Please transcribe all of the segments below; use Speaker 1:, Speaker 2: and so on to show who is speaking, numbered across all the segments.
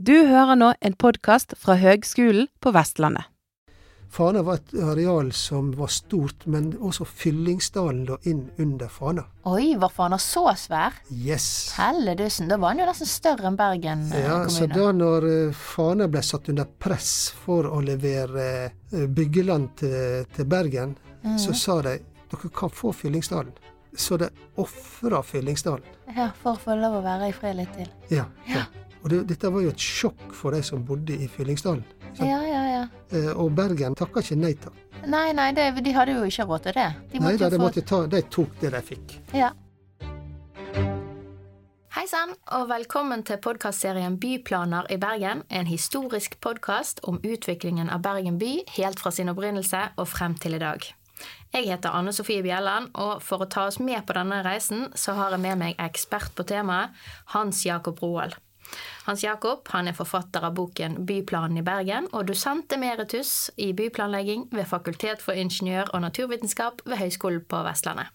Speaker 1: Du hører nå en podkast fra Høgskolen på Vestlandet.
Speaker 2: Fana var et areal som var stort, men også Fyllingsdalen lå inn under Fana.
Speaker 3: Oi, var Fana så svær?
Speaker 2: Yes.
Speaker 3: Helledussen, da var den jo nesten større enn Bergen eh,
Speaker 2: Ja, så
Speaker 3: kommune.
Speaker 2: da når eh, Fana ble satt under press for å levere eh, byggeland til, til Bergen,
Speaker 3: Mhm.
Speaker 2: så sa de dere kan få Fyllingsdalen. Så de ofra Fyllingsdalen.
Speaker 3: Ja, for å få lov å være i fred litt til.
Speaker 2: Ja.
Speaker 3: Ja.
Speaker 2: Og det, dette var jo et sjokk for de som bodde i Fyllingsdalen. Så-
Speaker 3: Ja, ja, ja.
Speaker 2: Eh, Og Bergen takka ikke nei takk.
Speaker 3: Nei, nei, det, de hadde jo ikke råd til det. De
Speaker 2: Nei, da,
Speaker 3: jo
Speaker 2: de,
Speaker 3: få-
Speaker 2: måtte ta, de tok det de fikk.
Speaker 3: Ja.
Speaker 4: Hei sann, og velkommen til podkastserien Byplaner i Bergen. En historisk podkast om utviklingen av Bergen by helt fra sin opprinnelse og frem til i dag. Jeg heter Anne Sofie Bjelland, og for å ta oss med på denne reisen, så har jeg med meg ekspert på temaet, Hans Jakob Roald. Hans Jakob han er forfatter av boken Byplanen i Bergen og dosent emeritus i byplanlegging ved Fakultet for ingeniør og naturvitenskap ved Høgskolen på Vestlandet.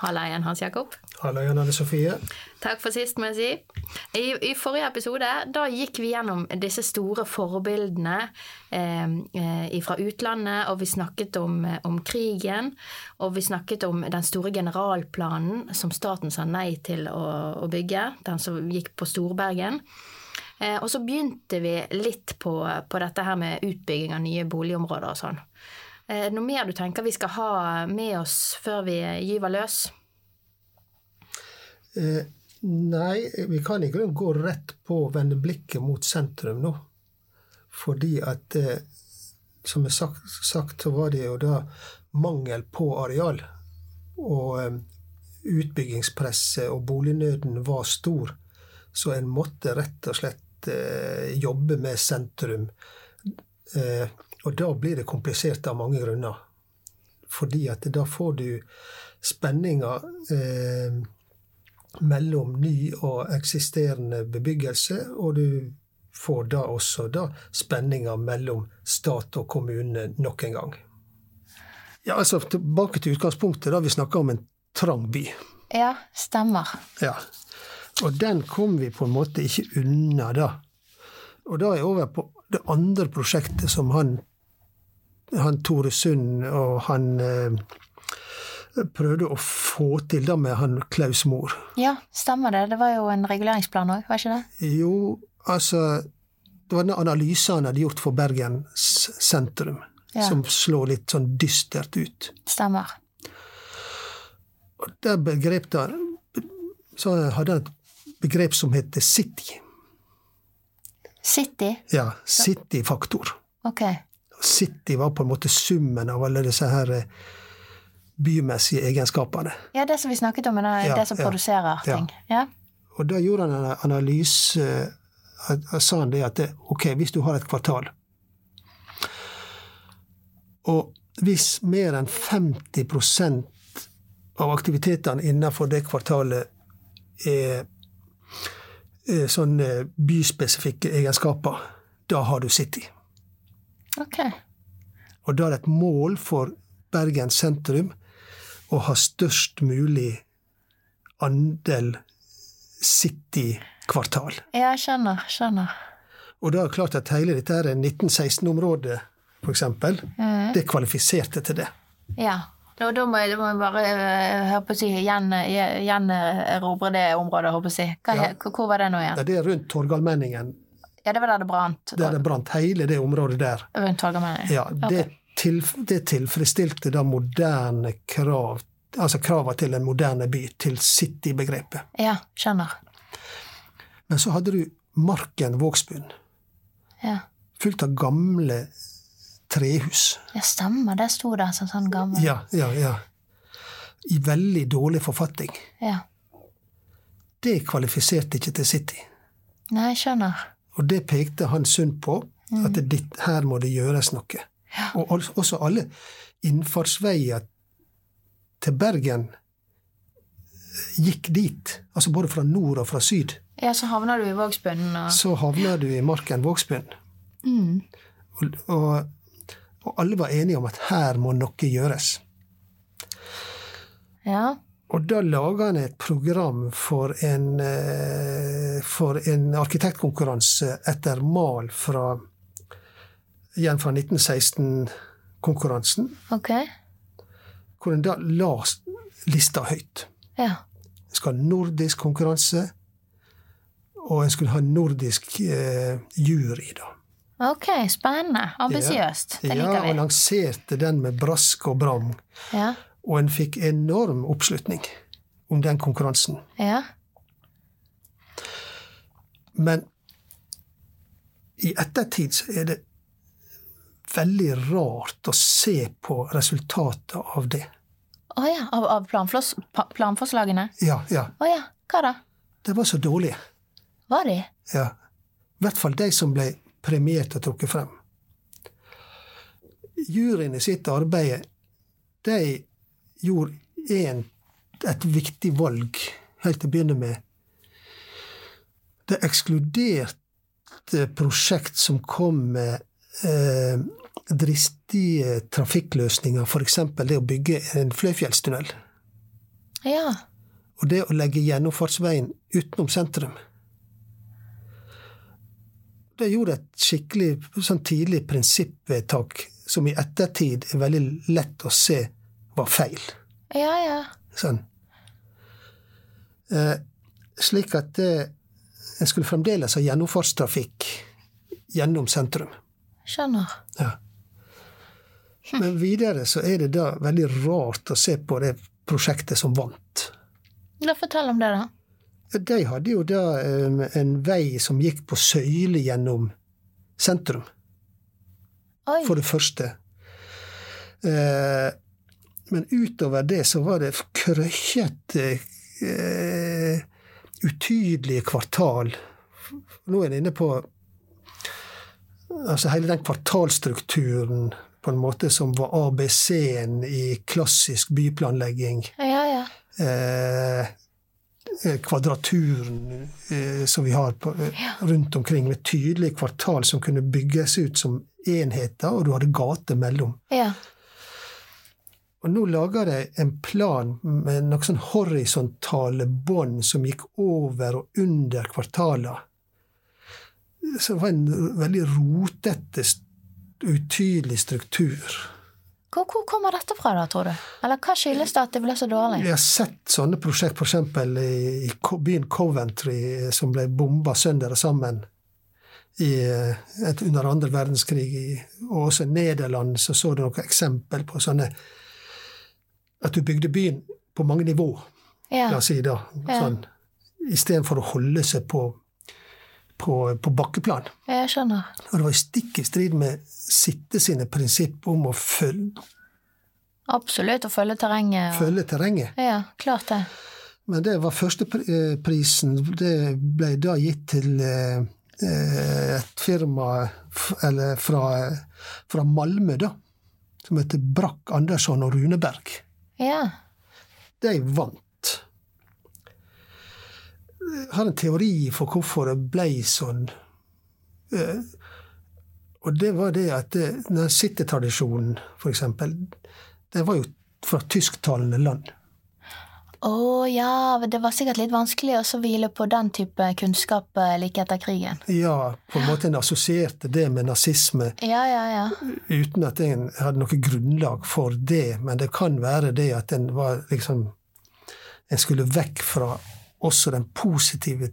Speaker 4: Halla igjen, Hans Jakob.
Speaker 2: Halla, Jan Anne Sofie.
Speaker 4: Takk for sist, må jeg si. I, I forrige episode da gikk vi gjennom disse store forbildene eh, fra utlandet, og vi snakket om, eh, om krigen, og vi snakket om den store generalplanen som staten sa nei til å, å bygge, den som gikk på Storbergen. Eh, og så begynte vi litt på, på dette her med utbygging av nye boligområder og sånn. Eh, noe mer du tenker vi skal ha med oss før vi gyver løs?
Speaker 2: Eh, nei, vi kan i grunnen gå rett på å vende blikket mot sentrum nå. Fordi at eh, Som jeg sagt, sagt, så var det jo da mangel på areal. Og eh, utbyggingspresset og bolignøden var stor. Så en måtte rett og slett eh, jobbe med sentrum. Eh, og da blir det komplisert av mange grunner. Fordi at da får du spenninger eh, mellom ny og eksisterende bebyggelse, og du får da også da spenninger mellom stat og kommune nok en gang. Ja, altså Tilbake til utgangspunktet, da vi snakka om en trang by.
Speaker 3: ja, stemmer.
Speaker 2: Ja. Og den kom vi på en måte ikke unna da. Og da er jeg over på det andre prosjektet som han, han Tore Sund og han eh, prøvde å få til da med han Klaus Mohr.
Speaker 3: Ja, stemmer det. Det var jo en reguleringsplan òg, var ikke det?
Speaker 2: Jo, altså Det var den analysen han hadde gjort for Bergens sentrum,
Speaker 3: Ja.
Speaker 2: som slår litt sånn dystert ut.
Speaker 3: Stemmer.
Speaker 2: Og der begrep der, så hadde han et begrep som heter city.
Speaker 3: City?
Speaker 2: Ja, city-faktor.
Speaker 3: Ok.
Speaker 2: City var på en måte summen av alle disse her eh, bymessige egenskapene.
Speaker 3: Ja, det som vi snakket om, er det,
Speaker 2: Ja,
Speaker 3: det som
Speaker 2: ja,
Speaker 3: produserer
Speaker 2: ja.
Speaker 3: ting. Ja.
Speaker 2: Og da gjorde han en analyse eh, Sa han det at det, ok, hvis du har et kvartal Og hvis mer enn 50 av aktivitetene innenfor det kvartalet er, er sånne byspesifikke egenskaper, da har du City.
Speaker 3: Ok.
Speaker 2: Og da er det et mål for Bergen sentrum å ha størst mulig andel City-kvartal.
Speaker 3: Ja, jeg skjønner. Skjønner.
Speaker 2: Og da er det klart at hele dette her 1916-området, f.eks.,
Speaker 3: Mhm.
Speaker 2: det kvalifiserte til det.
Speaker 3: Ja. Og da må jeg, da må jeg bare øh, høre på å si, eh, gjen- gje- gjenerobre det området, håper jeg å si. Hva,
Speaker 2: Ja.
Speaker 3: hvor- Hvor var det nå
Speaker 2: Ja,
Speaker 3: igjen?
Speaker 2: det er rundt Torgallmenningen,
Speaker 3: Ja, det var der det brant.
Speaker 2: der det brant hele det området der.
Speaker 3: Rundt Torgallmenningen.
Speaker 2: Ja, det, til, det tilfredsstilte da moderne krav, altså krava til en moderne by, til city-begrepet.
Speaker 3: ja, skjønner.
Speaker 2: Men så hadde du Marken Vågsbunn,
Speaker 3: Ja.
Speaker 2: fullt av gamle trehus.
Speaker 3: ja, stemmer. Det sto der som sånn gammel
Speaker 2: Ja, ja, ja. I veldig dårlig forfatning.
Speaker 3: Ja.
Speaker 2: Det kvalifiserte ikke til city.
Speaker 3: Nei, skjønner. Mm.
Speaker 2: Og det pekte han Sund på, at det, ditt, her må det gjøres noe. Og al- også alle innfartsveier til Bergen gikk dit. Altså både fra nord og fra syd.
Speaker 3: Ja, så havner du i Vågsbunnen og
Speaker 2: Så havna du i Marken Vågsbunn. Og, og, og alle var enige om at her må noe gjøres.
Speaker 3: Ja.
Speaker 2: Og da laga han et program for en, eh, for en arkitektkonkurranse etter mal fra igjen fra 1916-konkurransen,
Speaker 4: Ok.
Speaker 2: hvor en da la s- lista høyt.
Speaker 4: Ja.
Speaker 2: En skal ha nordisk konkurranse, og en skulle ha nordisk eh, jury, da.
Speaker 4: Ok, spennende. Ambisiøst. Det
Speaker 2: Ja,
Speaker 4: liker
Speaker 2: og
Speaker 4: vi.
Speaker 2: lanserte den med brask og bram,
Speaker 4: Ja.
Speaker 2: og en fikk enorm oppslutning om den konkurransen.
Speaker 4: Ja.
Speaker 2: Men i ettertid så er det veldig rart å se på resultatet av det.
Speaker 4: Å ja. Av, av planfors, pa- planforslagene?
Speaker 2: Ja, ja.
Speaker 4: Å ja. Hva da?
Speaker 2: De var så dårlige.
Speaker 4: Var de?
Speaker 2: Ja. I hvert fall de som ble premiert og trukket frem. Juryen i sitt arbeid de gjorde en, et viktig valg helt til å begynne med. De ekskluderte prosjekt som kom med eh, dristige trafikkløsninger, f.eks. det å bygge en fløyfjellstunnel.
Speaker 4: Ja.
Speaker 2: Og det å legge gjennomfartsveien utenom sentrum. Det gjorde et skikkelig sånn tidlig prinsippvedtak som i ettertid er veldig lett å se var feil.
Speaker 4: Ja, ja.
Speaker 2: Sånn. Eh, slik at eh, en skulle fremdeles ha gjennomfartstrafikk gjennom sentrum.
Speaker 4: Skjønner.
Speaker 2: Ja. Men videre så er det da veldig rart å se på det prosjektet som vant.
Speaker 4: La fortelle om det, da.
Speaker 2: Ja, De hadde jo da em, en vei som gikk på søyle gjennom sentrum,
Speaker 4: Oi.
Speaker 2: for det første. Eh, Men utover det så var det krøkkete, eh, utydelige kvartal. Nå er en inne på altså hele den kvartalstrukturen på en måte som var ABC-en i klassisk byplanlegging
Speaker 4: Ja, ja.
Speaker 2: eh, eh, kvadraturen eh, som vi har på, eh, rundt omkring, med tydelige kvartal som kunne bygges ut som enheter, og du hadde gater mellom.
Speaker 4: Ja.
Speaker 2: Og nå lager de en plan med noen sånn horisontale bånd som gikk over og under kvartaler. Så det var en veldig rotete, st- utydelig struktur.
Speaker 4: Hvor, hvor kommer dette fra, da, tror du? Eller hva skyldes det at det ble så dårlig?
Speaker 2: Jeg har sett sånne prosjekt, f.eks. i Co- byen Coventry, eh, som ble bomba sønder og sammen i, eh, et, under andre verdenskrig. i- Og også i Nederland så, så du noen eksempel på sånne At du bygde byen på mange nivå, la
Speaker 4: Ja.
Speaker 2: oss si da.
Speaker 4: Ja.
Speaker 2: Sånn, Istedenfor å holde seg på, på, på bakkeplan.
Speaker 4: Jeg skjønner.
Speaker 2: Og det var jo stikk i strid med Sitte sine prinsipp om å følge,
Speaker 4: Absolutt å følge terrenget. Og...
Speaker 2: følge terrenget.
Speaker 4: Ja, klart det.
Speaker 2: Men det var førsteprisen. Det ble da gitt til eh, eh, et firma f- eller fra, fra Malmö, da. Som heter Brakk Andersson og Runeberg.
Speaker 4: Ja.
Speaker 2: De vant. Jeg har en teori for hvorfor det ble sånn. Eh, Og det var det at det- den sittetradisjonen, for eksempel, den var jo fra tysktalende land.
Speaker 4: Å ja, det var sikkert litt vanskelig å så hvile på den type kunnskap eh, like etter krigen.
Speaker 2: Ja, på en måte en assosierte det med nazisme
Speaker 4: Ja, ja, ja.
Speaker 2: uten at en hadde noe grunnlag for det, men det kan være det at en var liksom En skulle vekk fra også den positive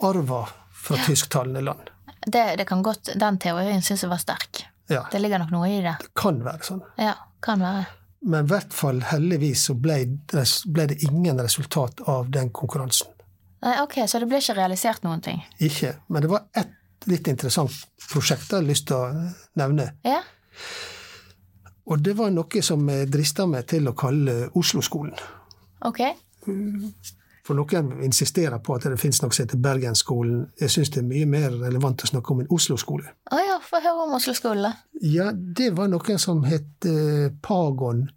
Speaker 2: arva fra tysktalende land.
Speaker 4: Det, det kan godt, Den teorien syns jeg var sterk.
Speaker 2: Ja,
Speaker 4: Det ligger nok noe i det.
Speaker 2: det kan være sånn.
Speaker 4: Ja, kan være.
Speaker 2: Men i hvert fall heldigvis så ble, res- ble det ingen resultat av den konkurransen.
Speaker 4: Nei, ok, Så det ble ikke realisert noen ting?
Speaker 2: Ikke. Men det var ett litt interessant prosjekt jeg har lyst til å nevne.
Speaker 4: Ja?
Speaker 2: Og det var noe som jeg drista meg til å kalle Oslo-skolen.
Speaker 4: Ok.
Speaker 2: For noen insisterer på at det finnes noe som heter Bergensskolen. Jeg syns det er mye mer relevant å snakke om en Oslo-skole.
Speaker 4: Å ja, få høre om Oslo skole.
Speaker 2: Ja, det var noen som het eh, Pagon.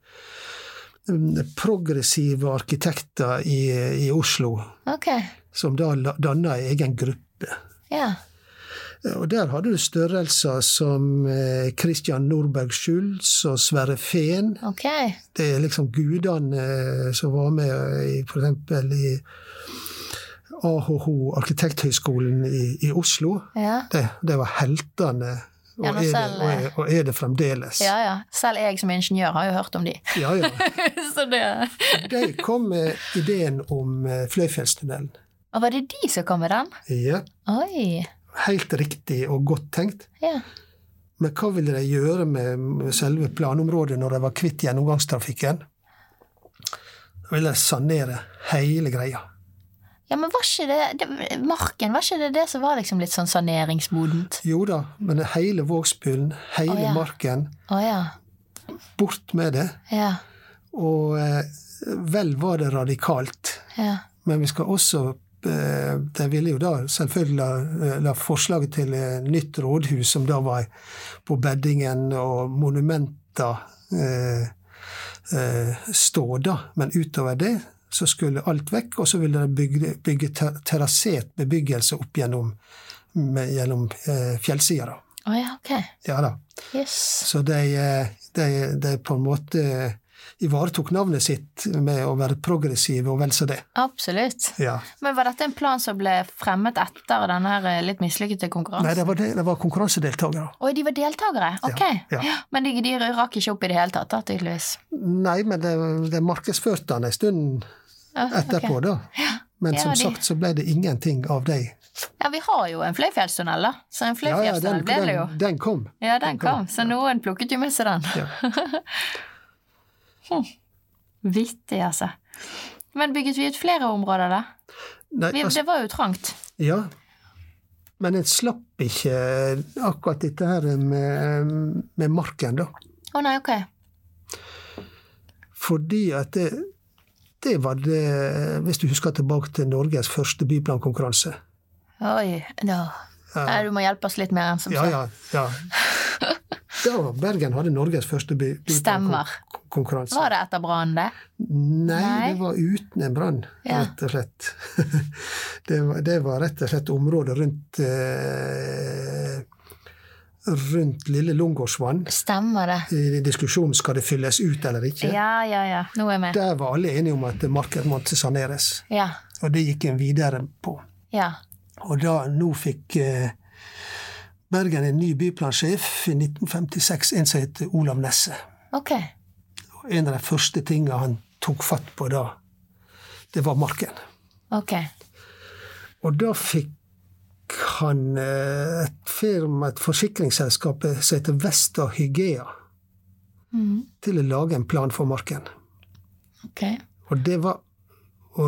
Speaker 2: Mm, Progressive arkitekter i, i Oslo,
Speaker 4: Ok.
Speaker 2: som da la- danna en egen gruppe.
Speaker 4: Ja.
Speaker 2: Og der hadde du størrelser som eh, Christian Norberg Schulz og Sverre Fehn.
Speaker 3: Ok.
Speaker 2: Det er liksom gudene eh, som var med i f.eks. i AHH, Arkitekthøgskolen i, i Oslo.
Speaker 3: Ja.
Speaker 2: Det, det var heltene. Og,
Speaker 3: Ja, nå
Speaker 2: er det,
Speaker 3: selv-
Speaker 2: og, er, og er det fremdeles.
Speaker 3: ja, ja. Selv jeg som ingeniør har jo hørt om de.
Speaker 2: ja, ja.
Speaker 3: Så det
Speaker 2: De kom med ideen om eh, Fløyfjellstunnelen.
Speaker 3: Og var det de som kom med den?
Speaker 2: Ja,
Speaker 3: Oi.
Speaker 2: helt riktig og godt tenkt.
Speaker 3: Ja.
Speaker 2: Men hva ville de gjøre med selve planområdet når de var kvitt gjennomgangstrafikken? Da ville de sanere hele greia.
Speaker 3: Ja, men var ikke det, det Marken, var ikke det det som var liksom litt sånn saneringsmodent?
Speaker 2: Jo da, men hele Vågsbylden, hele
Speaker 3: Å, ja.
Speaker 2: marken,
Speaker 3: Å ja.
Speaker 2: bort med det.
Speaker 3: Ja.
Speaker 2: Og eh, vel var det radikalt.
Speaker 3: Ja.
Speaker 2: Men vi skal også eh, De ville jo da selvfølgelig la, eh, la forslaget til eh, nytt rådhus, som da var på Beddingen, og monumenter eh, eh, stå, da. Men utover det så skulle alt vekk, og så ville de bygge, bygge ter- terrassert bebyggelse opp gjennom, med, gjennom eh, fjellsida, da.
Speaker 3: Å ja, ok.
Speaker 2: Ja da.
Speaker 3: Yes.
Speaker 2: Så de, eh, de, de på en måte eh, ivaretok navnet sitt med å være progressive, og vel så det.
Speaker 3: Absolutt.
Speaker 2: Ja.
Speaker 3: Men var dette en plan som ble fremmet etter denne her eh, litt mislykkede
Speaker 2: Nei,
Speaker 3: konkurransen?
Speaker 2: det var, det, det var konkurransedeltakere.
Speaker 3: Oi, de var deltakere? Ok.
Speaker 2: Ja, ja.
Speaker 3: Men de, de rakk ikke opp i det hele tatt, da, tydeligvis.
Speaker 2: Nei, men det, det markedsførte han en stund
Speaker 3: Ja,
Speaker 2: etterpå,
Speaker 3: ok.
Speaker 2: da. Men
Speaker 3: Ja,
Speaker 2: som
Speaker 3: de-
Speaker 2: sagt så ble det ingenting av deg.
Speaker 3: Ja, vi har jo en fløyfjellstunnel, da. Så
Speaker 2: Ja, ja,
Speaker 3: en
Speaker 2: den,
Speaker 3: fløyfjellstunnel ble det jo.
Speaker 2: den, den kom.
Speaker 3: Ja, den kom. Så noen plukket jo med seg den.
Speaker 2: Ja.
Speaker 3: Hm. Vittig, altså. Men bygget vi ut flere områder, da?
Speaker 2: Nei,
Speaker 3: Vi,
Speaker 2: altså,
Speaker 3: det var jo trangt.
Speaker 2: ja. Men en slapp ikke akkurat dette her med, med marken, da.
Speaker 3: Å nei, ok.
Speaker 2: Fordi at det, det var det Hvis du husker tilbake til Norges første byplankonkurranse.
Speaker 3: Oi, da.
Speaker 2: Ja.
Speaker 3: Nei, du må hjelpe oss litt mer enn som
Speaker 2: Ja,
Speaker 3: så.
Speaker 2: Eh, ja, ja. Da var Bergen hadde Norges første by,
Speaker 3: Stemmer.
Speaker 2: byplankonkurranse.
Speaker 3: Var det etter brannen, det?
Speaker 2: Nei,
Speaker 3: Nei.
Speaker 2: det var uten en brann,
Speaker 3: Ja.
Speaker 2: rett og slett. det, var, det var rett og slett området rundt eh, Rundt Lille Lungårdsvann.
Speaker 3: Stemmer det.
Speaker 2: I diskusjonen skal det fylles ut eller ikke.
Speaker 3: Ja, ja, ja. Nå er jeg med.
Speaker 2: Der var alle enige om at markedet måtte saneres,
Speaker 3: Ja.
Speaker 2: og det gikk en videre på.
Speaker 3: Ja.
Speaker 2: Og da, nå fikk eh, Bergen en ny byplansjef i 1956, en som het Olav Nesse.
Speaker 3: Ok.
Speaker 2: Og en av de første tingene han tok fatt på da, det var marken.
Speaker 3: Ok.
Speaker 2: Og da fikk han eh, et firma, et forsikringsselskap som heter Vesta Hygea,
Speaker 3: Mhm.
Speaker 2: til å lage en plan for marken.
Speaker 3: Ok.
Speaker 2: Og det var å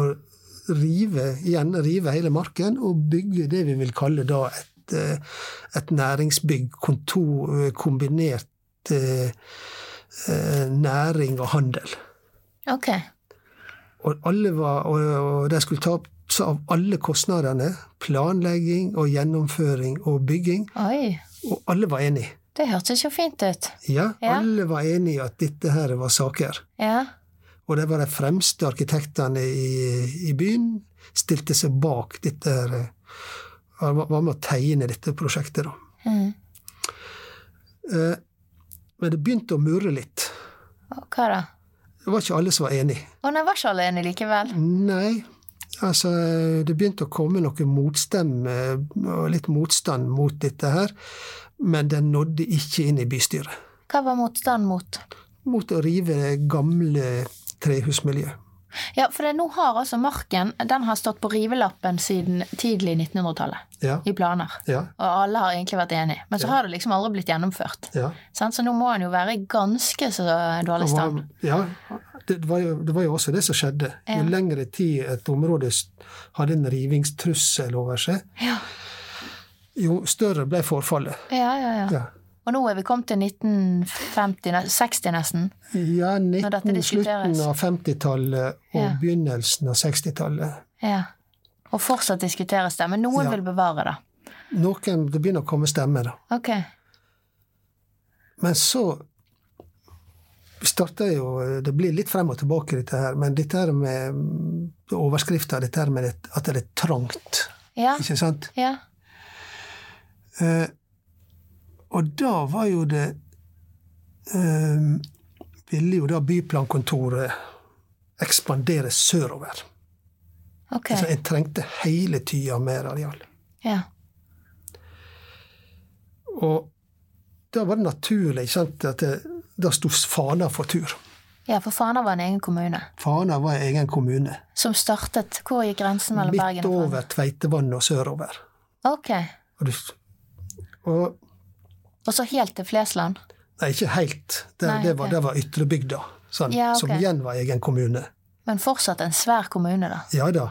Speaker 2: rive, igjen rive hele marken og bygge det vi vil kalle da et, eh, et næringsbygg, kontor, eh, kombinert eh, eh, næring og handel.
Speaker 3: Ok.
Speaker 2: Og, alle var, og, og de skulle ta seg av alle kostnadene. Planlegging og gjennomføring og bygging.
Speaker 3: Oi.
Speaker 2: Og alle var enige.
Speaker 3: Det hørtes jo fint ut.
Speaker 2: Ja,
Speaker 3: Ja.
Speaker 2: Alle var enige i at dette her var saker.
Speaker 3: Ja.
Speaker 2: Og de var de fremste arkitektene i, i byen. Stilte seg bak dette her eh, Var var med å tegne dette prosjektet, da.
Speaker 3: Mhm.
Speaker 2: Eh, Men det begynte å murre litt.
Speaker 3: Og Hva da?
Speaker 2: Det var ikke alle som var enige.
Speaker 3: Å nei, var ikke alle enige likevel?
Speaker 2: Nei. Altså, det begynte å komme noe motstemme og litt motstand mot dette her, men den nådde ikke inn i bystyret.
Speaker 3: Hva var motstanden mot?
Speaker 2: Mot å rive det gamle trehusmiljøet.
Speaker 3: Ja, for det, nå har altså marken den har stått på rivelappen siden tidlig 1900-tallet.
Speaker 2: Ja.
Speaker 3: I planer.
Speaker 2: Ja.
Speaker 3: Og alle har egentlig vært enige. Men så har det liksom aldri blitt gjennomført.
Speaker 2: ja.
Speaker 3: Sant? Så nå må den jo være i ganske så dårlig
Speaker 2: Det
Speaker 3: stand.
Speaker 2: var, ja, det, var jo, det var jo også det som skjedde.
Speaker 3: Ja.
Speaker 2: Jo lengre tid et område s- hadde en rivingstrussel over seg,
Speaker 3: Ja,
Speaker 2: jo større ble forfallet.
Speaker 3: ja, ja. ja.
Speaker 2: Ja.
Speaker 3: Og nå er vi kommet til 1950-60 nesten.
Speaker 2: Ja,
Speaker 3: Når dette
Speaker 2: 19,
Speaker 3: diskuteres.
Speaker 2: slutten av 50-tallet og
Speaker 3: Ja.
Speaker 2: begynnelsen av 60-tallet.
Speaker 3: Ja. Og fortsatt diskuteres det. Men noen
Speaker 2: Ja.
Speaker 3: vil bevare det.
Speaker 2: Noen, det begynner å komme stemmer, da.
Speaker 3: Ok.
Speaker 2: Men så starter jo Det blir litt frem og tilbake, dette her. Men dette her med overskrifta, dette her med det, at det er trangt,
Speaker 3: Ja.
Speaker 2: ikke sant?
Speaker 3: Ja.
Speaker 2: Eh, og da var jo det eh, Ville jo da byplankontoret ekspandere sørover.
Speaker 3: Ok.
Speaker 2: Så en trengte hele tida mer areal.
Speaker 3: Ja.
Speaker 2: Og da var det naturlig ikke sant, at det, da sto Fana for tur.
Speaker 3: ja, for Fana var en egen kommune.
Speaker 2: Fana var en egen kommune.
Speaker 3: Som startet Hvor gikk grensen mellom
Speaker 2: Midt
Speaker 3: Bergen og Fana?
Speaker 2: over Tveitevannet og sørover.
Speaker 3: Ok.
Speaker 2: Og, du, og
Speaker 3: Og så helt til Flesland?
Speaker 2: Nei, ikke helt. Det,
Speaker 3: Nei,
Speaker 2: det var,
Speaker 3: ok.
Speaker 2: det var ytrebygda, sånn,
Speaker 3: Ja, ok.
Speaker 2: som igjen var egen kommune.
Speaker 3: Men fortsatt en svær kommune, da.
Speaker 2: Ja da.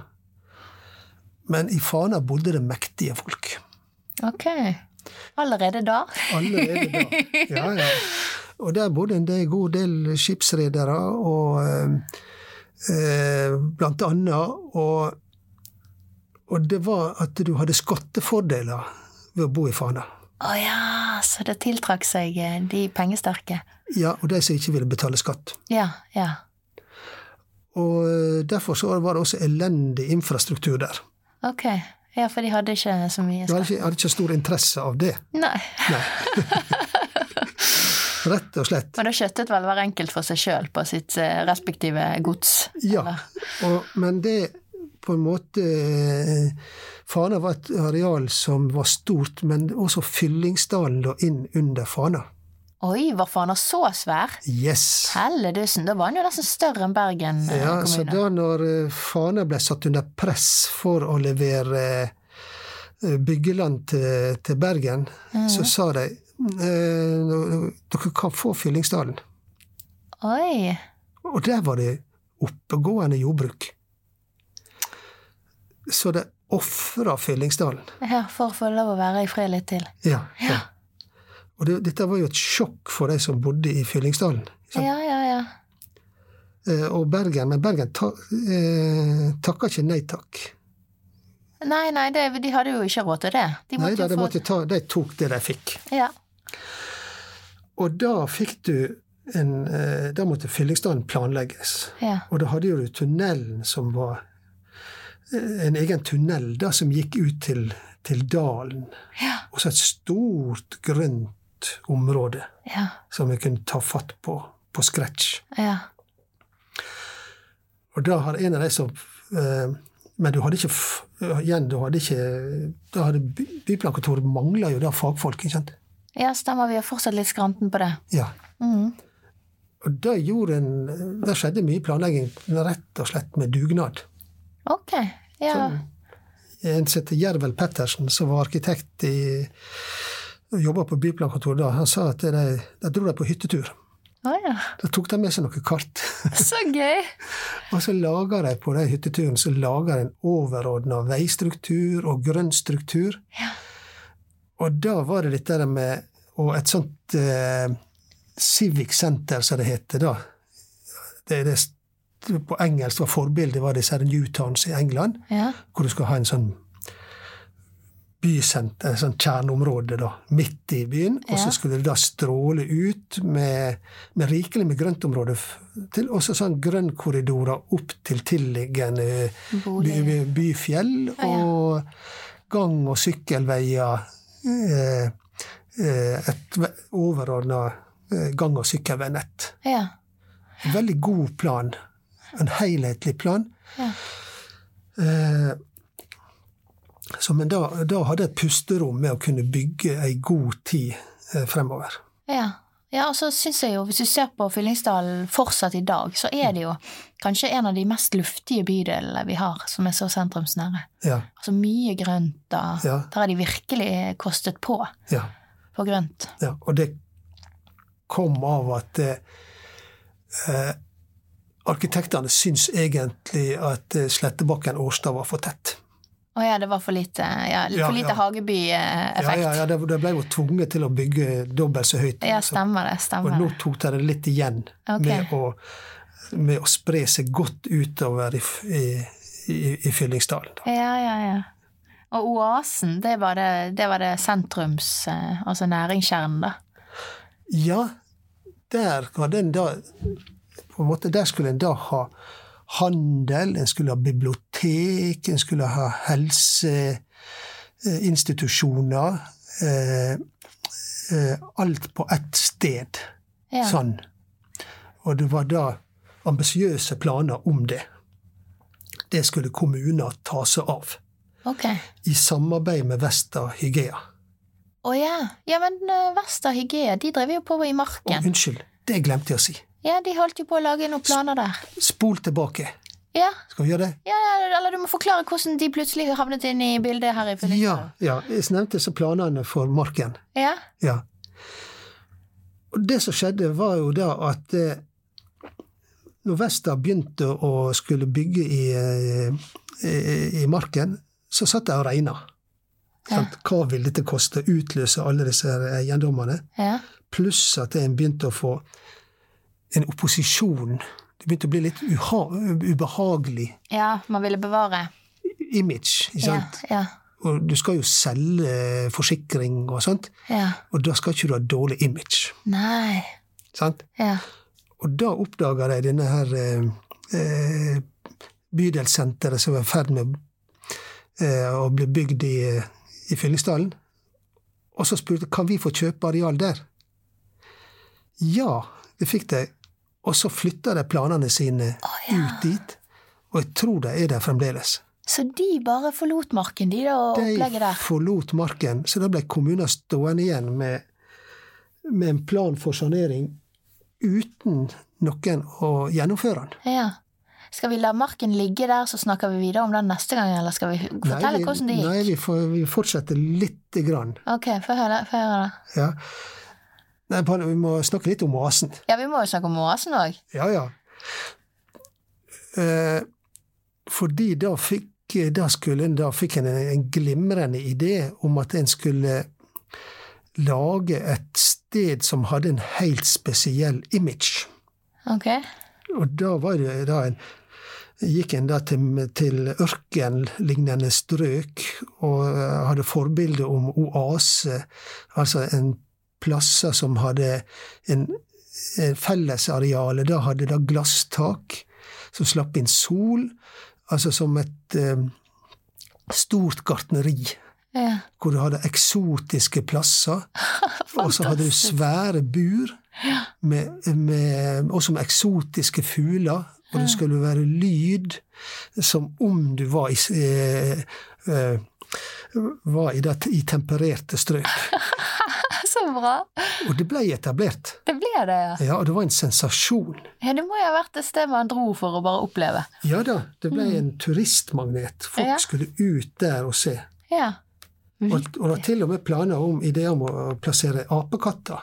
Speaker 2: Men i Fana bodde det mektige folk.
Speaker 3: Ok. Allerede da?
Speaker 2: Allerede da. Ja, ja. Og der bodde en del- god del skipsredere, og eh, eh, blant annet. Og, og det var at du hadde skattefordeler ved å bo i Fana.
Speaker 3: Å ja, så det tiltrakk seg eh, de pengesterke.
Speaker 2: Ja, og de som ikke ville betale skatt.
Speaker 3: Ja, ja.
Speaker 2: Og eh, derfor så var det også elendig infrastruktur der.
Speaker 3: Ok. Ja, for de hadde ikke så mye
Speaker 2: Jeg hadde ikke, jeg hadde ikke stor interesse av det.
Speaker 3: Nei.
Speaker 2: Rett og slett.
Speaker 3: Men da kjøttet vel hver enkelt for seg sjøl på sitt eh, respektive gods?
Speaker 2: Ja.
Speaker 3: eller?
Speaker 2: Og, men det på en måte eh, Fana var et areal som var stort, men også Fyllingsdalen lå inn under Fana.
Speaker 3: Oi, var Fana så svær?
Speaker 2: Yes!
Speaker 3: Helledussen, da var den jo nesten større enn Bergen eh,
Speaker 2: Ja, så
Speaker 3: kommune.
Speaker 2: da når eh, Fana ble satt under press for å levere eh, byggeland til, til Bergen,
Speaker 3: Mm. Mhm.
Speaker 2: så sa de eh, dere kan få Fyllingsdalen.
Speaker 3: Oi.
Speaker 2: Og der var det oppegående jordbruk. Så de ofra Fyllingsdalen.
Speaker 3: Ja, for å få lov å være i fred litt til.
Speaker 2: Ja. ja. Og det, dette var jo et sjokk for de som bodde i Fyllingsdalen. sant?
Speaker 3: Ja, ja, ja.
Speaker 2: Eh, og Bergen, men Bergen ta, eh, takka ikke nei takk.
Speaker 3: Nei, nei, det, de hadde jo ikke råd til det. De
Speaker 2: Nei,
Speaker 3: måtte
Speaker 2: da,
Speaker 3: jo
Speaker 2: de,
Speaker 3: få
Speaker 2: måtte ta, de tok det de fikk.
Speaker 3: Ja.
Speaker 2: Og da fikk du en eh, Da måtte Fyllingsdalen planlegges.
Speaker 3: ja.
Speaker 2: Og da hadde jo du tunnelen som var eh, En egen tunnel da, som gikk ut til, til dalen.
Speaker 3: Ja.
Speaker 2: Og så et stort, grønt område
Speaker 3: Ja.
Speaker 2: som vi kunne ta fatt på på scratch.
Speaker 3: ja.
Speaker 2: Og da har en av de som eh, Men du hadde ikke f- igjen, du hadde ikke da hadde by, Byplankontoret mangla jo da fagfolk, ikke sant?
Speaker 3: Ja, stemmer. Vi er fortsatt litt skranten på det.
Speaker 2: Ja.
Speaker 3: Mhm.
Speaker 2: Og da gjorde en Da skjedde mye planlegging rett og slett med dugnad.
Speaker 3: Ok. Ja.
Speaker 2: Sånn. En som heter Jervel Pettersen, som var arkitekt i Jobba på byplankontoret da, han sa at de, de dro de på hyttetur.
Speaker 3: Å ja.
Speaker 2: Da tok de med seg noen kart.
Speaker 3: Så gøy!
Speaker 2: og så laga de på de hytteturen så laga en overordna veistruktur og grønn struktur.
Speaker 3: Ja.
Speaker 2: Og da var det dette der med Og et sånt eh, civic center, som det heter da. Det, det, på engelsk var forbildet var disse her Newtowns i England.
Speaker 3: Ja.
Speaker 2: hvor du skal ha en sånn bysenter, en sånn kjerneområde da, midt i byen, og
Speaker 3: Ja.
Speaker 2: så skulle det da stråle ut med, med rikelig med grøntområde, f- til også sånn grønnkorridorer opp til tilliggende by,
Speaker 3: Bolig.
Speaker 2: by, byfjell,
Speaker 3: Oh, Ja, ja.
Speaker 2: og gang- og sykkelveier, eh, eh, et overordnet eh, gang- og sykkelveinett.
Speaker 3: Ja.
Speaker 2: En veldig god plan. En helhetlig plan.
Speaker 3: Ja.
Speaker 2: Eh, så, men da, da hadde jeg et pusterom med å kunne bygge ei god tid eh, fremover.
Speaker 3: Ja. ja, og så syns jeg jo, hvis du ser på Fyllingsdalen fortsatt i dag, så er det jo kanskje en av de mest luftige bydelene vi har, som er så sentrumsnære.
Speaker 2: Ja,
Speaker 3: Altså mye grønt, da.
Speaker 2: Ja.
Speaker 3: Der har de virkelig kostet på
Speaker 2: ja,
Speaker 3: på grønt.
Speaker 2: ja. Og det kom av at eh, eh, arkitektene syns egentlig at eh, Slettebakken Årstad var for tett.
Speaker 3: Å ja, det var for lite, ja,
Speaker 2: Ja,
Speaker 3: for lite
Speaker 2: ja. Ja, ja,
Speaker 3: Hageby-effekt. Ja,
Speaker 2: ja, de de ble jo tvunget til å bygge dobbelt så høyt. så-
Speaker 3: stemmer det.
Speaker 2: Og
Speaker 3: stemmer
Speaker 2: nå
Speaker 3: det.
Speaker 2: tok de det litt igjen
Speaker 3: Ok.
Speaker 2: med, å, med å spre seg godt utover i, f- i, i, i Fyllingsdalen. Da.
Speaker 3: Ja, ja, ja. Og oasen, det var det, det, var det sentrums, eh, altså næringskjernen, da.
Speaker 2: Ja, der hadde en da på en måte, Der skulle en da ha handel, en skulle ha bibliotek, en skulle ha helseinstitusjoner, eh, eh, alt på ett sted.
Speaker 3: Ja.
Speaker 2: Sånn. Og det var da ambisiøse planer om det. Det skulle kommuner ta seg av,
Speaker 3: Ok.
Speaker 2: i samarbeid med Vesta Hygea.
Speaker 3: Å ja. Ja, men eh, Vesta Hygea, de drev jo på i
Speaker 2: Og
Speaker 3: marken.
Speaker 2: unnskyld, det glemte jeg å si.
Speaker 3: Ja, de holdt jo på å lage noen planer der.
Speaker 2: Spol tilbake.
Speaker 3: Ja.
Speaker 2: Skal vi gjøre det?
Speaker 3: Ja, ja, eller du må forklare hvordan de plutselig havnet inn i bildet her i
Speaker 2: Ja.
Speaker 3: Fyllingsdalen.
Speaker 2: ja. Jeg nevnte så planene for Marken.
Speaker 3: Ja.
Speaker 2: Ja. Og det som skjedde, var jo da at eh, når Vesta begynte å skulle bygge i, eh, i, i marken, så satt jeg og regna.
Speaker 3: Ja.
Speaker 2: Hva vil dette koste? Utløse alle disse eiendommene?
Speaker 3: Ja.
Speaker 2: Pluss at en begynte å få en opposisjon. Det begynte å bli litt uha ubehagelig
Speaker 3: ja man ville bevare.
Speaker 2: image. ikke
Speaker 3: Ja.
Speaker 2: sant?
Speaker 3: Ja.
Speaker 2: Og du skal jo selge forsikring og sånt,
Speaker 3: ja.
Speaker 2: og da skal ikke du ha dårlig image.
Speaker 3: Nei.
Speaker 2: sant?
Speaker 3: Ja.
Speaker 2: Og da oppdaga de denne her eh, eh, bydelssenteret som var i ferd med eh, å bli bygd i, i Fyllingsdalen. Og så spurte kan vi få kjøpe areal der. Ja, det fikk de. Og så flytta de planene sine
Speaker 3: ja.
Speaker 2: ut dit. Og jeg tror de er der fremdeles.
Speaker 3: Så de bare forlot marken, de da, og
Speaker 2: De
Speaker 3: opplegget der.
Speaker 2: forlot marken, så da ble kommuner stående igjen med, med en plan for sanering uten noen å gjennomføre den.
Speaker 3: Ja. Skal vi la marken ligge der, så snakker vi videre om den neste gang, eller skal vi fortelle
Speaker 2: nei, vi,
Speaker 3: hvordan det gikk?
Speaker 2: Nei, vi, får, vi fortsetter lite grann.
Speaker 3: Ok, få høre, få høre da.
Speaker 2: Ja. Nei, Panne, vi må snakke litt om oasen.
Speaker 3: Ja, vi må jo snakke om oasen òg.
Speaker 2: Ja, ja. Eh, fordi da fikk, da skulle, en- da fikk en en glimrende idé om at en skulle lage et sted som hadde en helt spesiell image.
Speaker 3: Ok.
Speaker 2: Og da var det da en Gikk en da til, til ørkenlignende strøk og eh, hadde forbilde om oase, altså en plasser som hadde en, en fellesareale. Da hadde da glasstak som slapp inn sol, altså som et eh, stort gartneri
Speaker 3: Ja.
Speaker 2: hvor du hadde eksotiske plasser. Og så hadde du svære bur, med, med, også med eksotiske fugler. Og det skulle være lyd som om du var i, s- eh, eh, var i, det, i tempererte strøk.
Speaker 3: Så bra.
Speaker 2: Og det ble etablert.
Speaker 3: Det ble det, ja.
Speaker 2: Ja, og det var en sensasjon.
Speaker 3: Ja, Det må jo ha vært et sted man dro for å bare oppleve.
Speaker 2: Ja da, det ble en turistmagnet.
Speaker 3: Ja.
Speaker 2: Folk skulle ut der og se.
Speaker 3: Ja.
Speaker 2: Og, og det var til og med planer om ideer om å plassere apekatter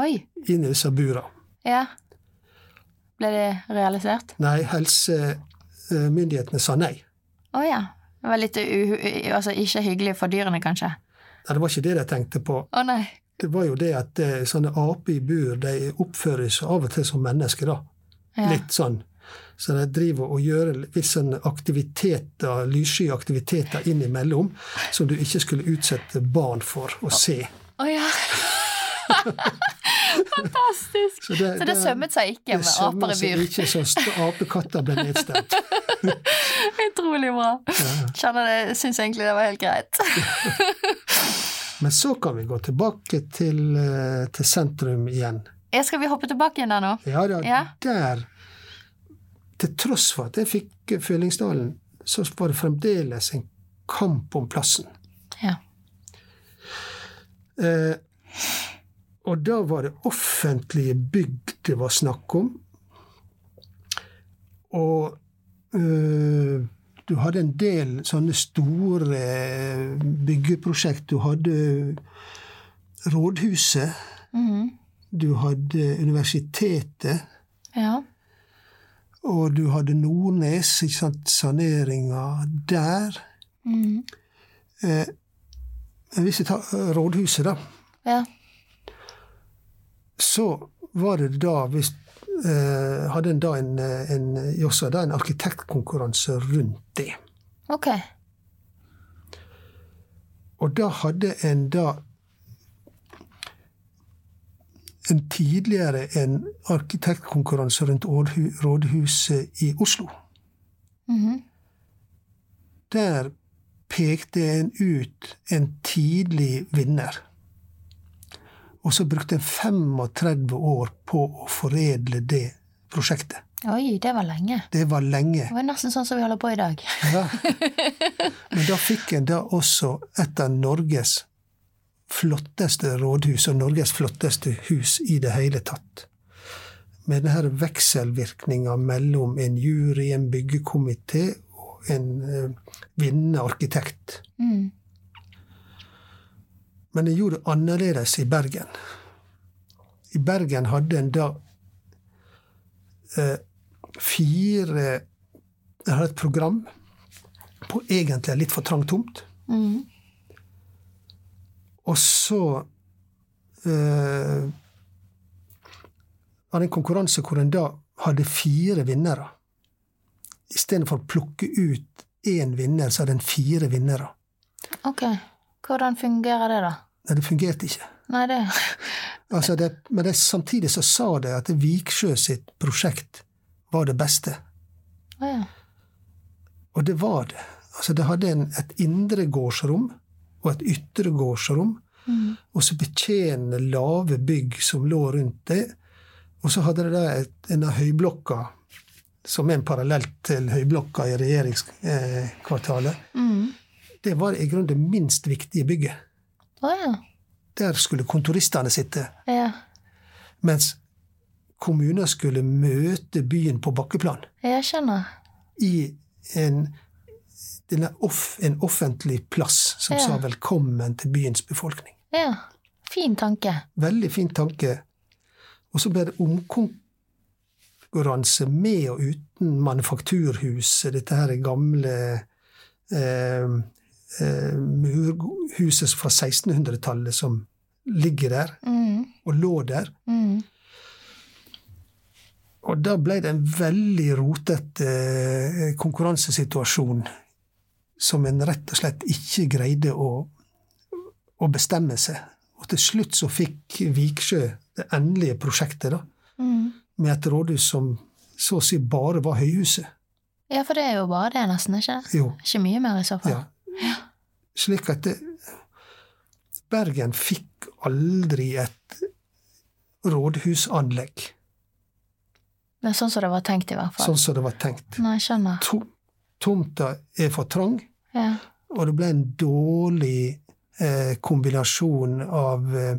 Speaker 3: Oi.
Speaker 2: inn i disse burene.
Speaker 3: Ja. Ble det realisert?
Speaker 2: Nei, helsemyndighetene sa nei.
Speaker 3: Å ja. Det var litt uhu... Altså ikke hyggelig for dyrene, kanskje?
Speaker 2: Nei, Det var ikke det de tenkte på.
Speaker 3: Å nei.
Speaker 2: Det var jo det at eh, sånne aper i bur de oppfører seg av og til som mennesker. da.
Speaker 3: Ja.
Speaker 2: Litt sånn. Så de driver og gjør visse sånne aktiviteter, eh, lyssky aktiviteter innimellom som du ikke skulle utsette barn for å se.
Speaker 3: Å ja. Fantastisk.
Speaker 2: Så det,
Speaker 3: Så det sømmet seg ikke
Speaker 2: det
Speaker 3: med
Speaker 2: sømmer
Speaker 3: aper i
Speaker 2: seg
Speaker 3: bur?
Speaker 2: ikke, så st- apekatter ble nedstemt.
Speaker 3: Utrolig bra. Kjenner det, Syns egentlig det var helt greit.
Speaker 2: Men så kan vi gå tilbake til, eh, til sentrum igjen.
Speaker 3: Ja, Skal vi hoppe tilbake igjen der nå?
Speaker 2: Ja da,
Speaker 3: Ja.
Speaker 2: der Til tross for at jeg fikk Fyllingsdalen, så var det fremdeles en kamp om plassen.
Speaker 3: Ja.
Speaker 2: Eh, og da var det offentlige bygg det var snakk om. Og eh, du hadde en del sånne store eh, byggeprosjekt. Du hadde rådhuset,
Speaker 3: Mhm.
Speaker 2: du hadde universitetet.
Speaker 3: ja.
Speaker 2: Og du hadde Nordnes, ikke sant, saneringa der.
Speaker 3: Mhm.
Speaker 2: Eh, hvis vi tar eh, rådhuset, da,
Speaker 3: ja.
Speaker 2: så var det da hvis eh, Hadde en da en, eh, en, Jossa, da, en arkitektkonkurranse rundt det.
Speaker 3: Ok.
Speaker 2: Og da hadde en da en tidligere en arkitektkonkurranse rundt rådhu- rådhuset i Oslo.
Speaker 3: Mhm.
Speaker 2: Der pekte en ut en tidlig vinner. Og så brukte en 35 år på å foredle det prosjektet.
Speaker 3: Oi, det var lenge.
Speaker 2: Det var lenge.
Speaker 3: Det var nesten sånn som vi holder på i dag.
Speaker 2: Ja. Men da fikk en da også et av Norges flotteste rådhus, og Norges flotteste hus i det hele tatt. Med denne vekselvirkninga mellom en jury, en byggekomité og en eh, vinnende arkitekt.
Speaker 3: Mm.
Speaker 2: Men en gjorde det annerledes i Bergen. I Bergen hadde en da eh, fire En hadde et program på egentlig en litt for trang tomt.
Speaker 3: Mm.
Speaker 2: Og så eh, var det en konkurranse hvor en da hadde fire vinnere. Istedenfor å plukke ut én vinner, så hadde en fire vinnere.
Speaker 3: Ok. Hvordan fungerer det, da?
Speaker 2: Nei, det fungerte ikke.
Speaker 3: Nei, det
Speaker 2: Altså det, men det, samtidig så sa de at Viksjø sitt prosjekt var det beste.
Speaker 3: Å ja.
Speaker 2: Og det var det. Altså, det hadde en, et indregårdsrom og et ytregårdsrom.
Speaker 3: Mm.
Speaker 2: Og så betjene lave bygg som lå rundt det. Og så hadde det da et, en av høyblokka, som er en parallell til høyblokka i regjeringskvartalet.
Speaker 3: Mm.
Speaker 2: Det var i grunnen det minst viktige bygget.
Speaker 3: Å ja.
Speaker 2: Der skulle kontoristene sitte.
Speaker 3: Ja.
Speaker 2: Mens kommuner skulle møte byen på bakkeplan.
Speaker 3: Jeg skjønner.
Speaker 2: i en, denne off, en offentlig plass som
Speaker 3: Ja.
Speaker 2: sa velkommen til byens befolkning.
Speaker 3: Ja. Fin tanke.
Speaker 2: Veldig fin tanke. Og så ble det omkonkurranse med og uten Manufakturhuset, dette her gamle eh, eh, murhuset fra 1600-tallet som ligger der,
Speaker 3: Mm.
Speaker 2: og lå der.
Speaker 3: Mm.
Speaker 2: Og da ble det en veldig rotete eh, konkurransesituasjon som en rett og slett ikke greide å, å bestemme seg. Og til slutt så fikk Viksjø det endelige prosjektet, da,
Speaker 3: Mm.
Speaker 2: med et rådhus som så å si bare var høyhuset.
Speaker 3: Ja, for det er jo bare det, nesten, ikke det?
Speaker 2: Jo,
Speaker 3: Ikke mye mer, i så fall.
Speaker 2: ja. Slik at det, Bergen fikk aldri et rådhusanlegg,
Speaker 3: Men sånn som det var tenkt, i hvert fall.
Speaker 2: sånn som det var tenkt.
Speaker 3: Nei, skjønner.
Speaker 2: To, tomta er for trang.
Speaker 3: Ja.
Speaker 2: Og det ble en dårlig eh, kombinasjon av, eh,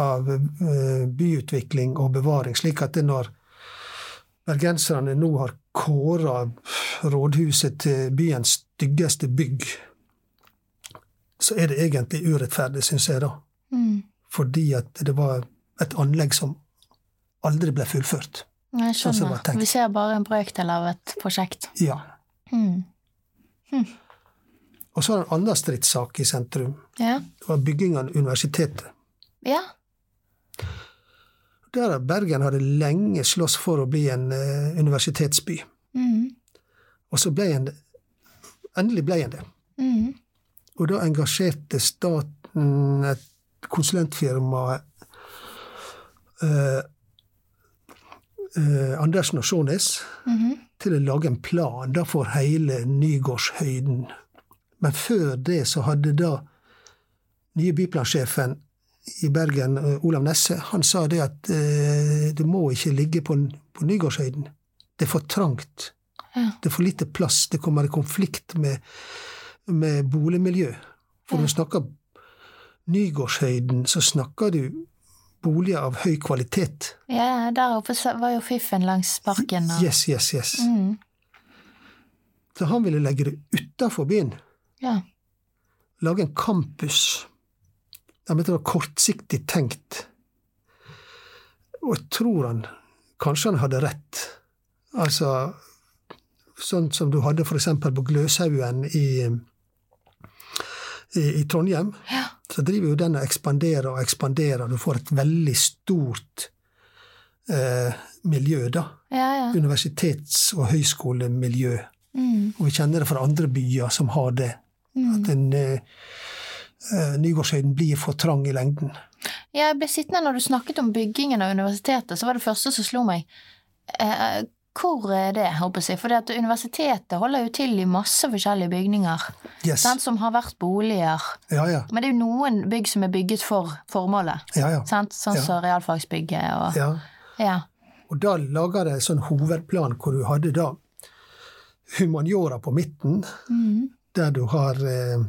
Speaker 2: av eh, byutvikling og bevaring. Slik at det når bergenserne nå har kåra rådhuset til byens styggeste bygg, så er det egentlig urettferdig, syns jeg, da.
Speaker 3: Mm.
Speaker 2: Fordi at det var et anlegg som aldri ble fullført.
Speaker 3: Jeg
Speaker 2: Sånn som det
Speaker 3: skjønner.
Speaker 2: var tenkt.
Speaker 3: Vi ser bare en brøkdel av et prosjekt.
Speaker 2: Ja.
Speaker 3: Mm.
Speaker 2: Og så er det en annen stridssak i sentrum.
Speaker 3: Ja.
Speaker 2: Det var bygging av universitetet.
Speaker 3: ja.
Speaker 2: Der Bergen hadde lenge slåss for å bli en eh, universitetsby.
Speaker 3: Mm.
Speaker 2: Og så ble en Endelig ble en det.
Speaker 3: Mm.
Speaker 2: Og da engasjerte staten et konsulentfirma eh, eh, Andersen og Sjånes
Speaker 3: Mhm.
Speaker 2: til å lage en plan da for hele Nygårdshøyden. Men før det så hadde da nye byplansjefen i Bergen, eh, Olav Nesse, han sa det at eh, det må ikke ligge på, på Nygårdshøyden. Det er for trangt.
Speaker 3: Ja.
Speaker 2: Det er for lite plass. Det kommer i konflikt med, med boligmiljø. For når du snakker Nygårdshøyden, så snakker du boliger av høy kvalitet.
Speaker 3: ja, der oppe så- var jo fiffen langs parken. Og...
Speaker 2: Yes, yes, yes.
Speaker 3: Mm.
Speaker 2: Så han ville legge det utafor byen.
Speaker 3: Ja.
Speaker 2: Lage en campus. Jeg mente det var kortsiktig tenkt. Og jeg tror han Kanskje han hadde rett. Altså Sånn som du hadde f.eks. på Gløshaugen i, i, i Trondheim.
Speaker 3: Ja.
Speaker 2: Så driver jo den og ekspanderer og ekspanderer. Du får et veldig stort eh, miljø, da.
Speaker 3: ja, ja.
Speaker 2: Universitets- og høyskolemiljø.
Speaker 3: Mm.
Speaker 2: Og vi kjenner det fra andre byer som har det. At en, eh, eh, Nygårdshøyden blir for trang i lengden.
Speaker 3: Jeg ble sittende når du snakket om byggingen av universitetet, så var det første som slo meg. Eh, Hvor er det, håper jeg? For universitetet holder jo til i masse forskjellige bygninger.
Speaker 2: Yes.
Speaker 3: Sant, som har vært boliger.
Speaker 2: Ja, ja.
Speaker 3: Men det er jo noen bygg som er bygget for formålet.
Speaker 2: ja, ja.
Speaker 3: Sant? Sånn som realfagsbygget og
Speaker 2: ja.
Speaker 3: Ja.
Speaker 2: Og da laga de en sånn hovedplan hvor du hadde da humaniora på midten,
Speaker 3: Mhm.
Speaker 2: der du har eh,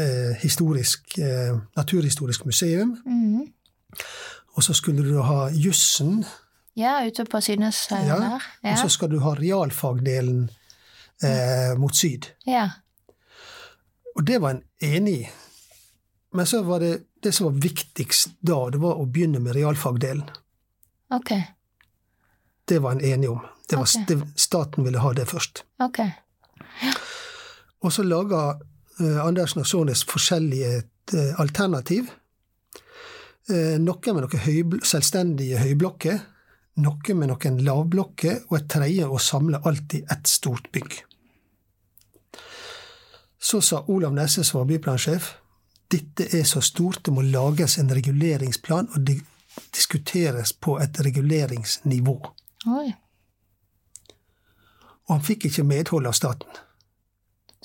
Speaker 2: eh, historisk, eh, naturhistorisk museum,
Speaker 3: Mhm.
Speaker 2: og så skulle du ha jussen,
Speaker 3: Ja, ute på Sydnes eh,
Speaker 2: Ja,
Speaker 3: der.
Speaker 2: og
Speaker 3: Ja.
Speaker 2: så skal du ha realfagdelen eh, mot syd.
Speaker 3: ja.
Speaker 2: Og det var en enig i. Men så var det det som var viktigst da, det var å begynne med realfagdelen.
Speaker 3: Ok.
Speaker 2: Det var en enig om. Det var,
Speaker 3: Ok.
Speaker 2: det, staten ville ha det først.
Speaker 3: Ok.
Speaker 2: Og så laga eh, Andersen og Sårnes forskjellige eh, alternativ. Eh, noen med noen høybl selvstendige høyblokker, noen med noen lavblokker, og et tredje å samle alt i ett stort bygg. Så sa Olav Nesse, som var byplansjef, dette er så stort, det må lages en reguleringsplan og di diskuteres på et reguleringsnivå.
Speaker 3: Oi.
Speaker 2: Og han fikk ikke medhold av staten.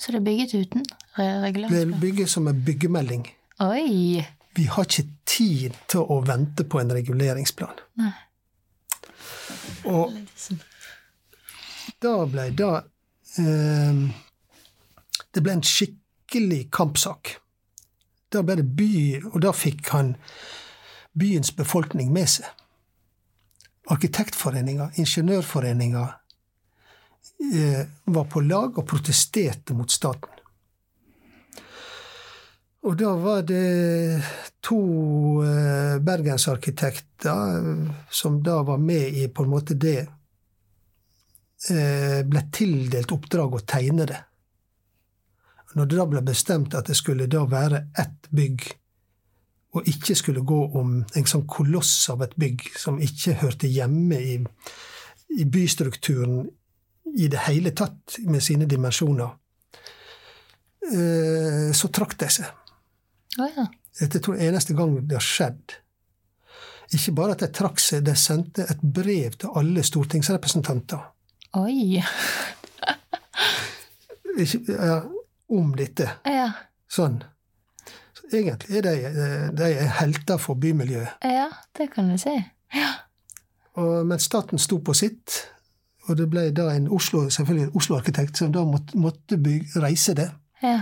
Speaker 3: Så det er bygget uten re-
Speaker 2: Det
Speaker 3: reguleringsplan?
Speaker 2: bygges som en byggemelding.
Speaker 3: Oi!
Speaker 2: Vi har ikke tid til å vente på en reguleringsplan.
Speaker 3: Nei.
Speaker 2: Og da ble da eh, Det ble en skikkelig kampsak. Da ble det by, og da fikk han byens befolkning med seg. Arkitektforeninga, ingeniørforeninga eh, var på lag og protesterte mot staten. Og da var det to eh, bergensarkitekter eh, som da var med i på en måte det eh, Ble tildelt oppdrag å tegne det. Når det da ble bestemt at det skulle da være ett bygg, og ikke skulle gå om en sånn koloss av et bygg som ikke hørte hjemme i, i bystrukturen i det hele tatt, med sine dimensjoner, eh, så trakk de seg.
Speaker 3: Å ja.
Speaker 2: Dette tror jeg er eneste gang det har skjedd. Ikke bare at de trakk seg, de sendte et brev til alle stortingsrepresentanter
Speaker 3: Oi!
Speaker 2: ikke, ja, om dette.
Speaker 3: Ja.
Speaker 2: Sånn. Så egentlig er de, eh, de er helter for bymiljøet.
Speaker 3: ja, det kan du si.
Speaker 2: Og, men staten sto på sitt, og det ble da en Oslo, selvfølgelig en Oslo-arkitekt som da måtte, måtte byg- reise det.
Speaker 3: Ja.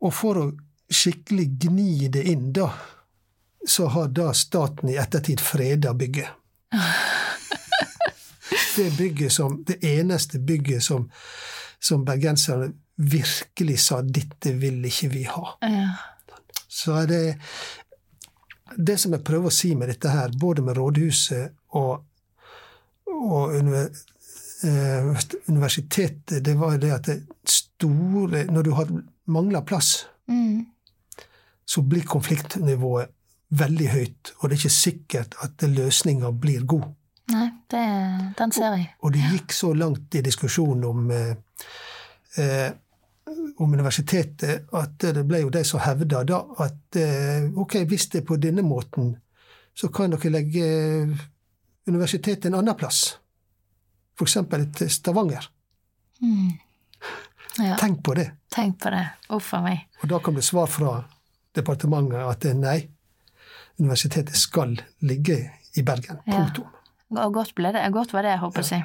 Speaker 2: Og for å skikkelig gni det inn, da, så har da staten i ettertid freda bygget. Det bygget som Det eneste bygget som, som bergenserne virkelig sa 'dette vil ikke vi ha'.
Speaker 3: ja.
Speaker 2: Så er det Det som jeg prøver å si med dette her, både med rådhuset og, og univer- eh, universitetet, det var jo det at det store Når du har mangler plass
Speaker 3: Mm.
Speaker 2: så blir konfliktnivået veldig høyt, og det er ikke sikkert at løsninga blir god.
Speaker 3: Nei, det, den ser jeg.
Speaker 2: Og det gikk så langt i diskusjonen om, eh, eh, om universitetet at det ble jo de som hevda da at eh, ok, hvis det er på denne måten, så kan dere legge eh, universitetet en annen plass. F.eks. til Stavanger.
Speaker 3: Mm. Ja,
Speaker 2: Tenk på det.
Speaker 3: tenk på det. Uff a meg.
Speaker 2: Og da kom det svar fra departementet at eh, nei, universitetet skal ligge i Bergen.
Speaker 3: Ja.
Speaker 2: Punktum.
Speaker 3: Og godt, ble det. godt var det, håper jeg.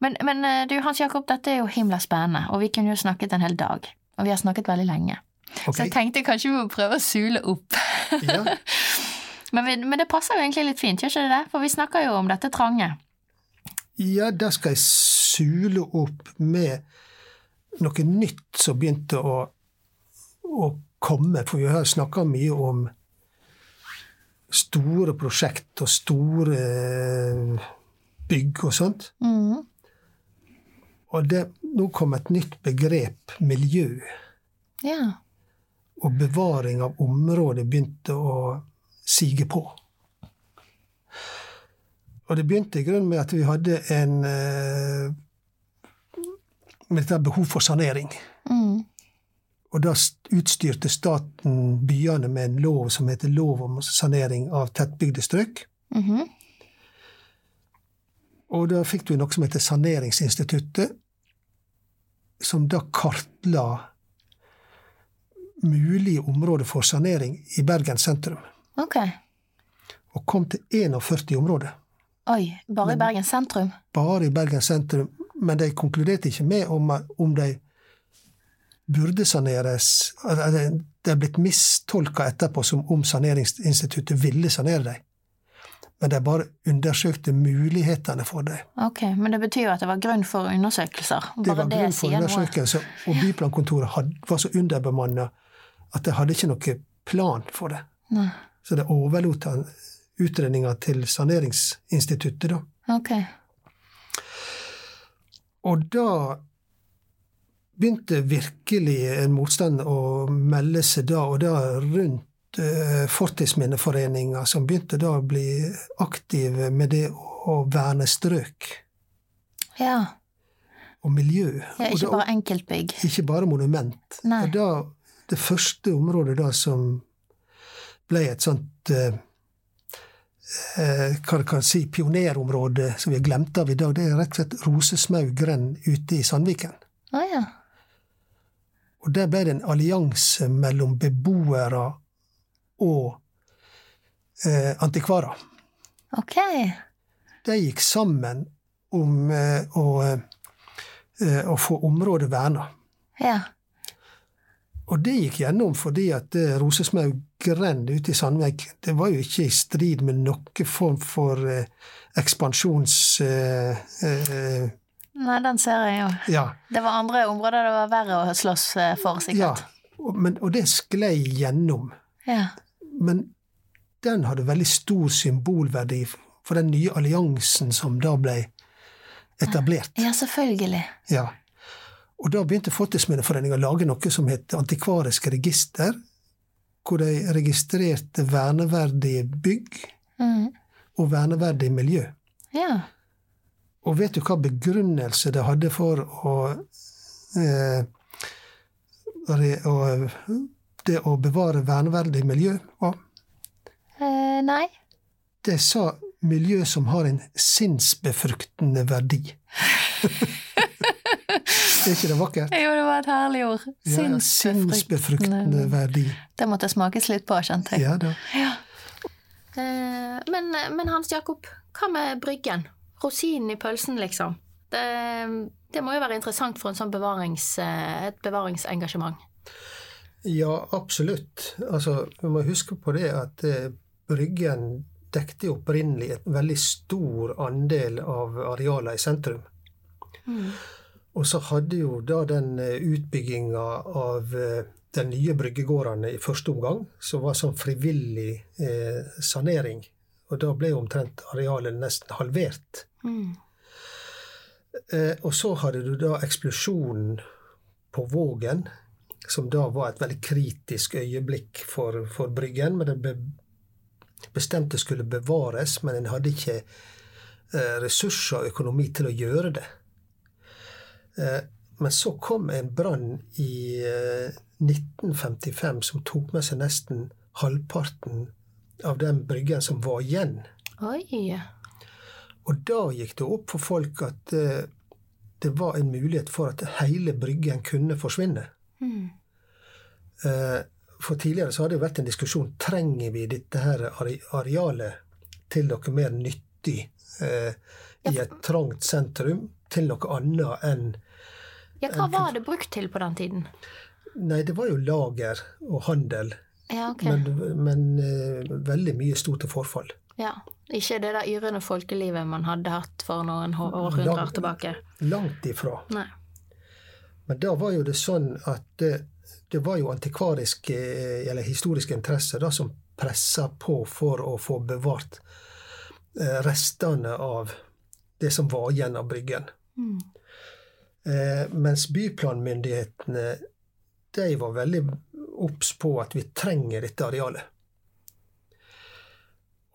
Speaker 3: Men, men eh, du, Hans Jakob, dette er jo himla spennende, og vi kunne jo snakket en hel dag. Og vi har snakket veldig lenge.
Speaker 2: Ok?
Speaker 3: Så jeg tenkte kanskje vi må prøve å sule opp.
Speaker 2: Ja.
Speaker 3: Men, vi, men det passer jo egentlig litt fint, gjør ikke det det? For vi snakker jo om dette trange.
Speaker 2: ja, da skal jeg sule opp med noe nytt som begynte å, å komme. For vi har snakka mye om store prosjekt og store bygg og sånt.
Speaker 3: Mm.
Speaker 2: Og det, nå kom et nytt begrep, miljø.
Speaker 3: Ja.
Speaker 2: og bevaring av området begynte å sige på. Og det begynte i grunnen med at vi hadde en eh, med dette behov for sanering.
Speaker 3: Mm.
Speaker 2: Og da s- utstyrte staten byene med en lov som heter lov om sanering av tettbygde strøk.
Speaker 3: Mhm.
Speaker 2: Og da fikk du noe som heter Saneringsinstituttet, som da kartla mulige områder for sanering i Bergen sentrum.
Speaker 3: Ok.
Speaker 2: Og kom til 41 områder,
Speaker 3: Oi,
Speaker 2: Mm.
Speaker 3: bare i Bergen sentrum?
Speaker 2: bare i Bergen sentrum. Men de konkluderte ikke med om, om de burde saneres. Altså, Det er blitt mistolka etterpå som om Saneringsinstituttet ville sanere dem. Men de bare undersøkte mulighetene for dem.
Speaker 3: Ok, Men det betyr jo at det var grunn for undersøkelser.
Speaker 2: Det
Speaker 3: Bare det,
Speaker 2: var grunn for
Speaker 3: sier noe.
Speaker 2: undersøkelse, og byplankontoret had- var så underbemanna at de hadde ikke noen plan for det.
Speaker 3: Nei.
Speaker 2: Så de overlot han- utredninga til Saneringsinstituttet, da.
Speaker 3: Ok.
Speaker 2: Og da begynte virkelig en motstand å melde seg da og da rundt eh, Fortidsminneforeninga, som begynte da å bli aktive med det å verne strøk
Speaker 3: Ja.
Speaker 2: og miljø.
Speaker 3: ja
Speaker 2: og
Speaker 3: ikke
Speaker 2: da,
Speaker 3: bare enkeltbygg.
Speaker 2: ikke bare monument.
Speaker 3: Nei.
Speaker 2: Og da, det første området da som ble et sånt eh, eh, hva du kan si, pionerområde som vi har glemt av i dag, det er rett og slett Rosesmau grend ute i Sandviken.
Speaker 3: Å ja.
Speaker 2: Og der ble det en allianse mellom beboere og eh, antikvarer.
Speaker 3: Ok.
Speaker 2: De gikk sammen om eh, å, eh, å få området verna.
Speaker 3: Ja.
Speaker 2: Og det gikk gjennom fordi at eh, Rosesmaug grend ute i Sandveik, det var jo ikke i strid med noen form for eh, ekspansjons... Eh, eh,
Speaker 3: Nei, den ser jeg jo.
Speaker 2: ja.
Speaker 3: Det var andre områder det var verre å slåss eh, for,
Speaker 2: ja.
Speaker 3: sikkert.
Speaker 2: Og, men, og det sklei gjennom.
Speaker 3: Ja.
Speaker 2: Men den hadde veldig stor symbolverdi for den nye alliansen som da ble etablert.
Speaker 3: Ja, selvfølgelig.
Speaker 2: Ja. Og da begynte Fortidsminneforeningen å lage noe som het Antikvariske register, hvor de registrerte verneverdige bygg
Speaker 3: Mm.
Speaker 2: og verneverdig miljø.
Speaker 3: Ja.
Speaker 2: Og vet du hva begrunnelse det hadde for å eh, re, å, Det å bevare verneverdig miljø var?
Speaker 3: Eh, nei.
Speaker 2: Det sa miljø som har en sinnsbefruktende verdi. er ikke det vakkert?
Speaker 3: Jo, det var et herlig ord.
Speaker 2: Ja, ja, sinnsbefruktende verdi.
Speaker 3: Det måtte smakes litt på, kjente jeg.
Speaker 2: Ja da.
Speaker 4: Eh, Men, men Hans Jakob, hva med Bryggen? Rosinen i pølsen, liksom. Det, det må jo være interessant for en sånn bevarings, eh, et bevaringsengasjement.
Speaker 2: Ja, absolutt. Altså, vi må huske på det at eh, Bryggen dekte jo opprinnelig et veldig stor andel av arealet i sentrum. Og så hadde jo da den utbygginga av eh, de nye bryggegårdene i første omgang, som var sånn frivillig eh, sanering. Og da ble jo omtrent arealet nesten halvert.
Speaker 4: Mm.
Speaker 2: Eh, og så hadde du da eksplosjonen på Vågen, som da var et veldig kritisk øyeblikk for, for Bryggen. Men den ble bestemte skulle bevares, men en hadde ikke eh, ressurser og økonomi til å gjøre det. Eh, men så kom en brann i eh, 1955 som tok med seg nesten halvparten av den bryggen som var igjen.
Speaker 4: Oi.
Speaker 2: Og da gikk det opp for folk at eh, det var en mulighet for at hele bryggen kunne forsvinne.
Speaker 4: Mm.
Speaker 2: Eh, for tidligere så har det jo vært en diskusjon trenger vi dette her are- arealet til noe mer nyttig eh, i et trangt sentrum, til noe annet enn
Speaker 4: Ja, hva var det brukt til på den tiden?
Speaker 2: Nei, det var jo lager og handel,
Speaker 4: Ja, ok.
Speaker 2: men, men eh, veldig mye sto til forfall.
Speaker 4: Ja. Ikke det der yrende folkelivet man hadde hatt for noen hå-
Speaker 2: Lang-
Speaker 4: århundrer tilbake.
Speaker 2: Langt ifra.
Speaker 4: Nei.
Speaker 2: Men da var jo det sånn at det, det var jo antikvariske eh, eller historiske interesser da, som pressa på for å få bevart eh, restene av det som var igjen av Bryggen.
Speaker 4: Mm.
Speaker 2: Eh, mens byplanmyndighetene de var veldig obs på at vi trenger dette arealet.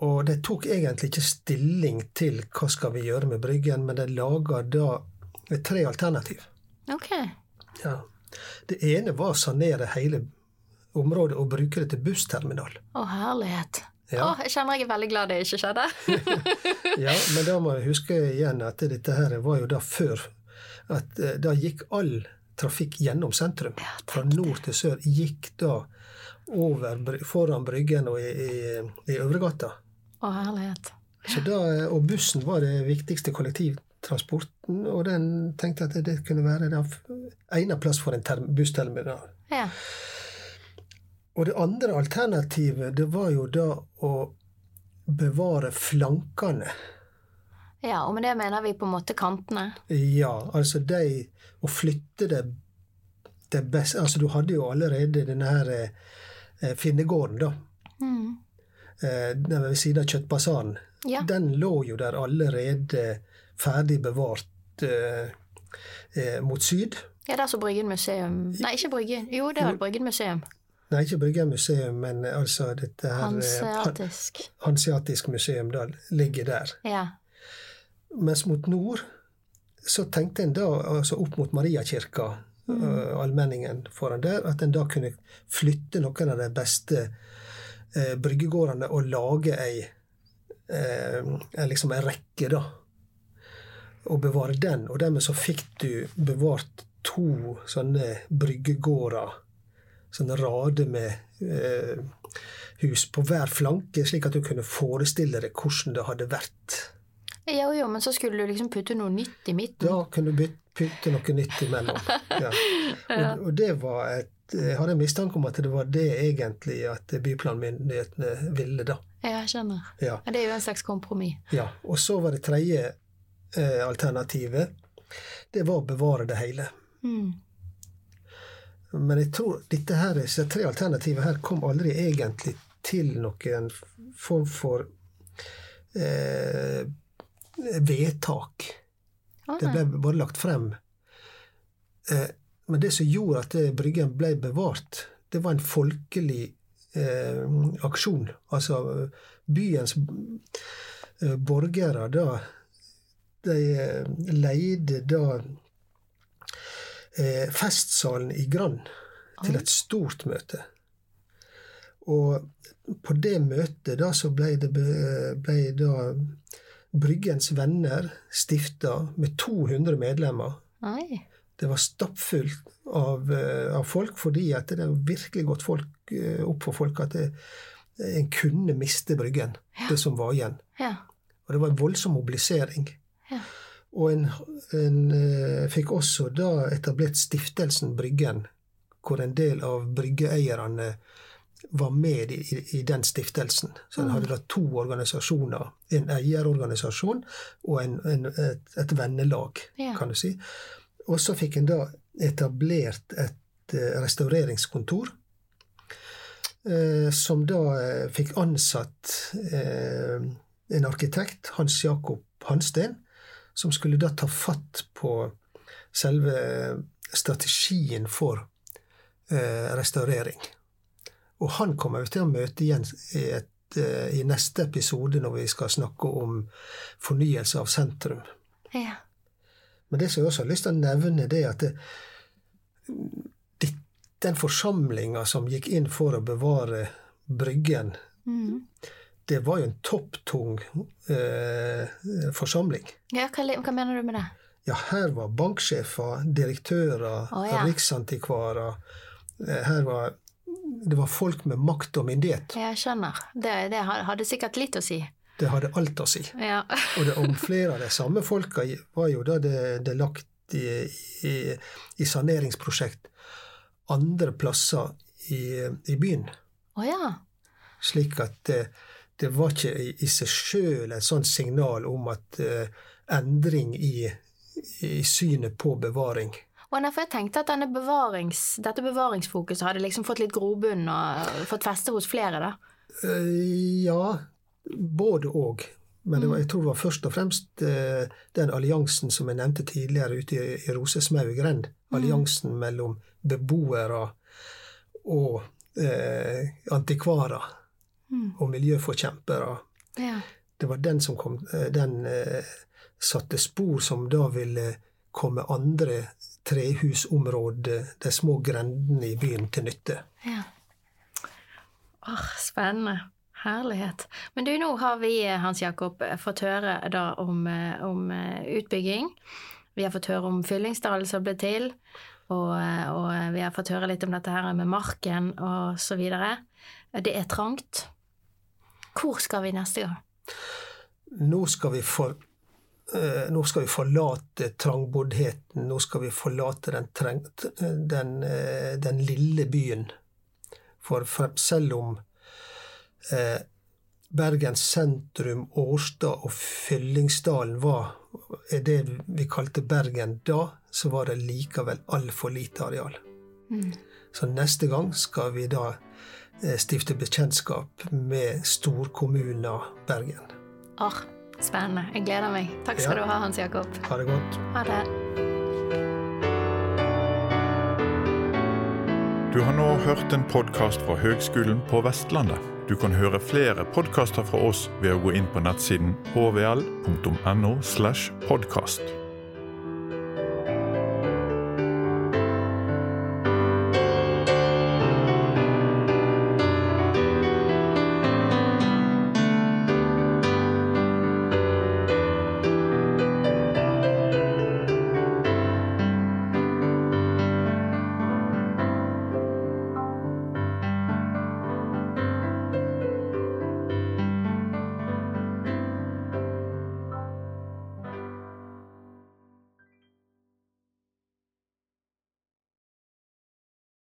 Speaker 2: Og de tok egentlig ikke stilling til hva skal vi gjøre med Bryggen, men de laga da eh, tre alternativ.
Speaker 4: Ok.
Speaker 2: Ja. Det ene var å sanere hele området og bruke det til bussterminal.
Speaker 4: Å, herlighet.
Speaker 2: Ja.
Speaker 4: Å, jeg kjenner jeg er veldig glad det ikke skjedde.
Speaker 2: Ja, men da må jeg huske igjen at dette her var jo da før. At eh, da gikk all trafikk gjennom sentrum. Fra nord til sør gikk da over, bry- foran Bryggen og i, i, i Øvregata.
Speaker 4: Å, herlighet.
Speaker 2: Så da, eh, og bussen var det viktigste kollektivtransporten, og den tenkte jeg at det kunne være den f- ene plass for en term- bussterminal.
Speaker 4: Ja.
Speaker 2: Og det andre alternativet, det var jo da å bevare flankene.
Speaker 4: ja, og med det mener vi på en måte kantene.
Speaker 2: Ja, altså de Å flytte det, det beste Altså, du hadde jo allerede denne her eh, Finnegården, da.
Speaker 4: Mm.
Speaker 2: Eh, den ved siden av Kjøttbasaren.
Speaker 4: Ja.
Speaker 2: Den lå jo der allerede ferdig bevart eh, eh, mot syd.
Speaker 4: ja, det er så Bryggen museum Nei, ikke Bryggen. Jo, det er vel Bryggen museum.
Speaker 2: Nei, ikke Bryggen museum, men eh, altså dette her eh, han-
Speaker 4: Hanseatisk.
Speaker 2: Hanseatisk museum da, ligger der.
Speaker 4: Ja.
Speaker 2: Mens mot nord så tenkte en da, altså opp mot Mariakirka,
Speaker 4: Mm.
Speaker 2: eh, allmenningen foran der, at en da kunne flytte noen av de beste eh, bryggegårdene og lage ei, eh, ei liksom ei rekke, da. Og bevare den. Og dermed så fikk du bevart to sånne bryggegårder. Sånne rader med eh, hus på hver flanke, slik at du kunne forestille deg hvordan det hadde vært.
Speaker 4: Jo, jo, men så skulle du liksom putte noe nytt i midten.
Speaker 2: Da kunne du byt- putte noe nytt imellom. Ja. Og, og det var et Jeg hadde en mistanke om at det var det egentlig at byplanmyndighetene ville, da.
Speaker 4: Ja, jeg skjønner.
Speaker 2: Ja.
Speaker 4: Ja, Det er jo en slags kompromiss.
Speaker 2: ja. Og så var det tredje eh, alternativet. Det var å bevare det hele.
Speaker 4: Mm.
Speaker 2: Men jeg tror dette her, disse tre alternativene her kom aldri egentlig til noen f- form for eh, vedtak.
Speaker 4: Å,
Speaker 2: Det
Speaker 4: nei.
Speaker 2: ble bare lagt frem. Eh, Men det som gjorde at eh, Bryggen ble bevart, det var en folkelig eh, aksjon. Altså eh, byens eh, borgere da De eh, leide da eh, festsalen i Grand til et stort møte. Og på det møtet da så ble det be- ble da Bryggens venner stifta med 200 medlemmer.
Speaker 4: Nei.
Speaker 2: Det var stappfullt av, eh, av folk, fordi at det er virkelig gått folk, eh, opp for folk at det, en kunne miste Bryggen, det som var igjen.
Speaker 4: Ja.
Speaker 2: Og det var en voldsom mobilisering.
Speaker 4: Ja.
Speaker 2: Og en, en eh, fikk også da etablert stiftelsen Bryggen, hvor en del av bryggeeierne var med i, i, i den stiftelsen. Så
Speaker 4: Mm.
Speaker 2: en hadde da to organisasjoner. En eierorganisasjon og en, en, et, et vennelag,
Speaker 4: Ja.
Speaker 2: kan du si. Og så fikk en da etablert et eh, restaureringskontor. Eh, som da eh, fikk ansatt eh, en arkitekt, Hans Jakob Hansten, som skulle da ta fatt på selve strategien for eh, restaurering. Og han kommer vi til å møte igjen i, et, eh, i neste episode når vi skal snakke om fornyelse av sentrum.
Speaker 4: Ja.
Speaker 2: Men det som jeg også har lyst til å nevne, det er at det, det, den forsamlinga som gikk inn for å bevare Bryggen,
Speaker 4: Mm.
Speaker 2: det var jo en topptung eh, forsamling.
Speaker 4: ja hva, li- hva mener du med det?
Speaker 2: Ja, her var banksjefer, direktører,
Speaker 4: Å, ja.
Speaker 2: riksantikvarer eh, Her var Det var folk med makt og myndighet.
Speaker 4: Ja, Jeg skjønner. Det, det ha- hadde sikkert litt å si.
Speaker 2: Det hadde alt å si.
Speaker 4: Ja.
Speaker 2: Og det, om flere av de samme folka i- var jo da det, det lagt i, i, i saneringsprosjekt andre plasser i, i byen.
Speaker 4: Å ja.
Speaker 2: Slik at det, det var ikke i, i seg sjøl et sånt signal om at eh, endring i, i synet på bevaring.
Speaker 4: Og nei, for jeg tenkte at denne bevarings, dette bevaringsfokuset hadde liksom fått litt grobunn og fått feste hos flere, da.
Speaker 2: Eh, ja, både òg. Men det var, jeg tror det var først og fremst eh, den alliansen som jeg nevnte tidligere ute i, i Rosesmau grend. Alliansen mellom beboere og eh, antikvarer
Speaker 3: Mm.
Speaker 2: og miljøforkjempere.
Speaker 4: Ja.
Speaker 2: Det var den som kom, eh, den eh, satte spor som da ville komme andre trehusområder, de små grendene i byen, til nytte.
Speaker 4: ja. Åh, spennende.
Speaker 3: Ah, Herlighet. Men du, nå har vi, eh, Hans Jakob, eh, fått høre eh, da om, eh, om eh, utbygging. Vi har fått høre om Fyllingsdalen som ble til, og, eh, og eh, vi har fått høre litt om dette her med marken og så videre. Eh, Det er trangt. Hvor skal vi neste gang?
Speaker 2: Nå skal vi for, eh, nå skal vi forlate trangboddheten, nå skal vi forlate den, treng, den, eh, den lille byen. For, for selv om eh, Bergen sentrum, Årstad og Fyllingsdalen var er det vi kalte Bergen da, så var det likevel altfor lite areal.
Speaker 3: Mm.
Speaker 2: Så neste gang skal vi da eh, stifte bekjentskap med storkommunen Bergen.
Speaker 3: Arr, spennende. Jeg gleder meg. Takk skal
Speaker 2: Ja.
Speaker 3: du ha, Hans Jakob.
Speaker 2: Ha det godt.
Speaker 3: Ha det.
Speaker 5: Du har nå hørt en podkast fra Høgskolen på Vestlandet. Du kan høre flere podkaster fra oss ved å gå inn på nettsiden hvl.no. slash podcast.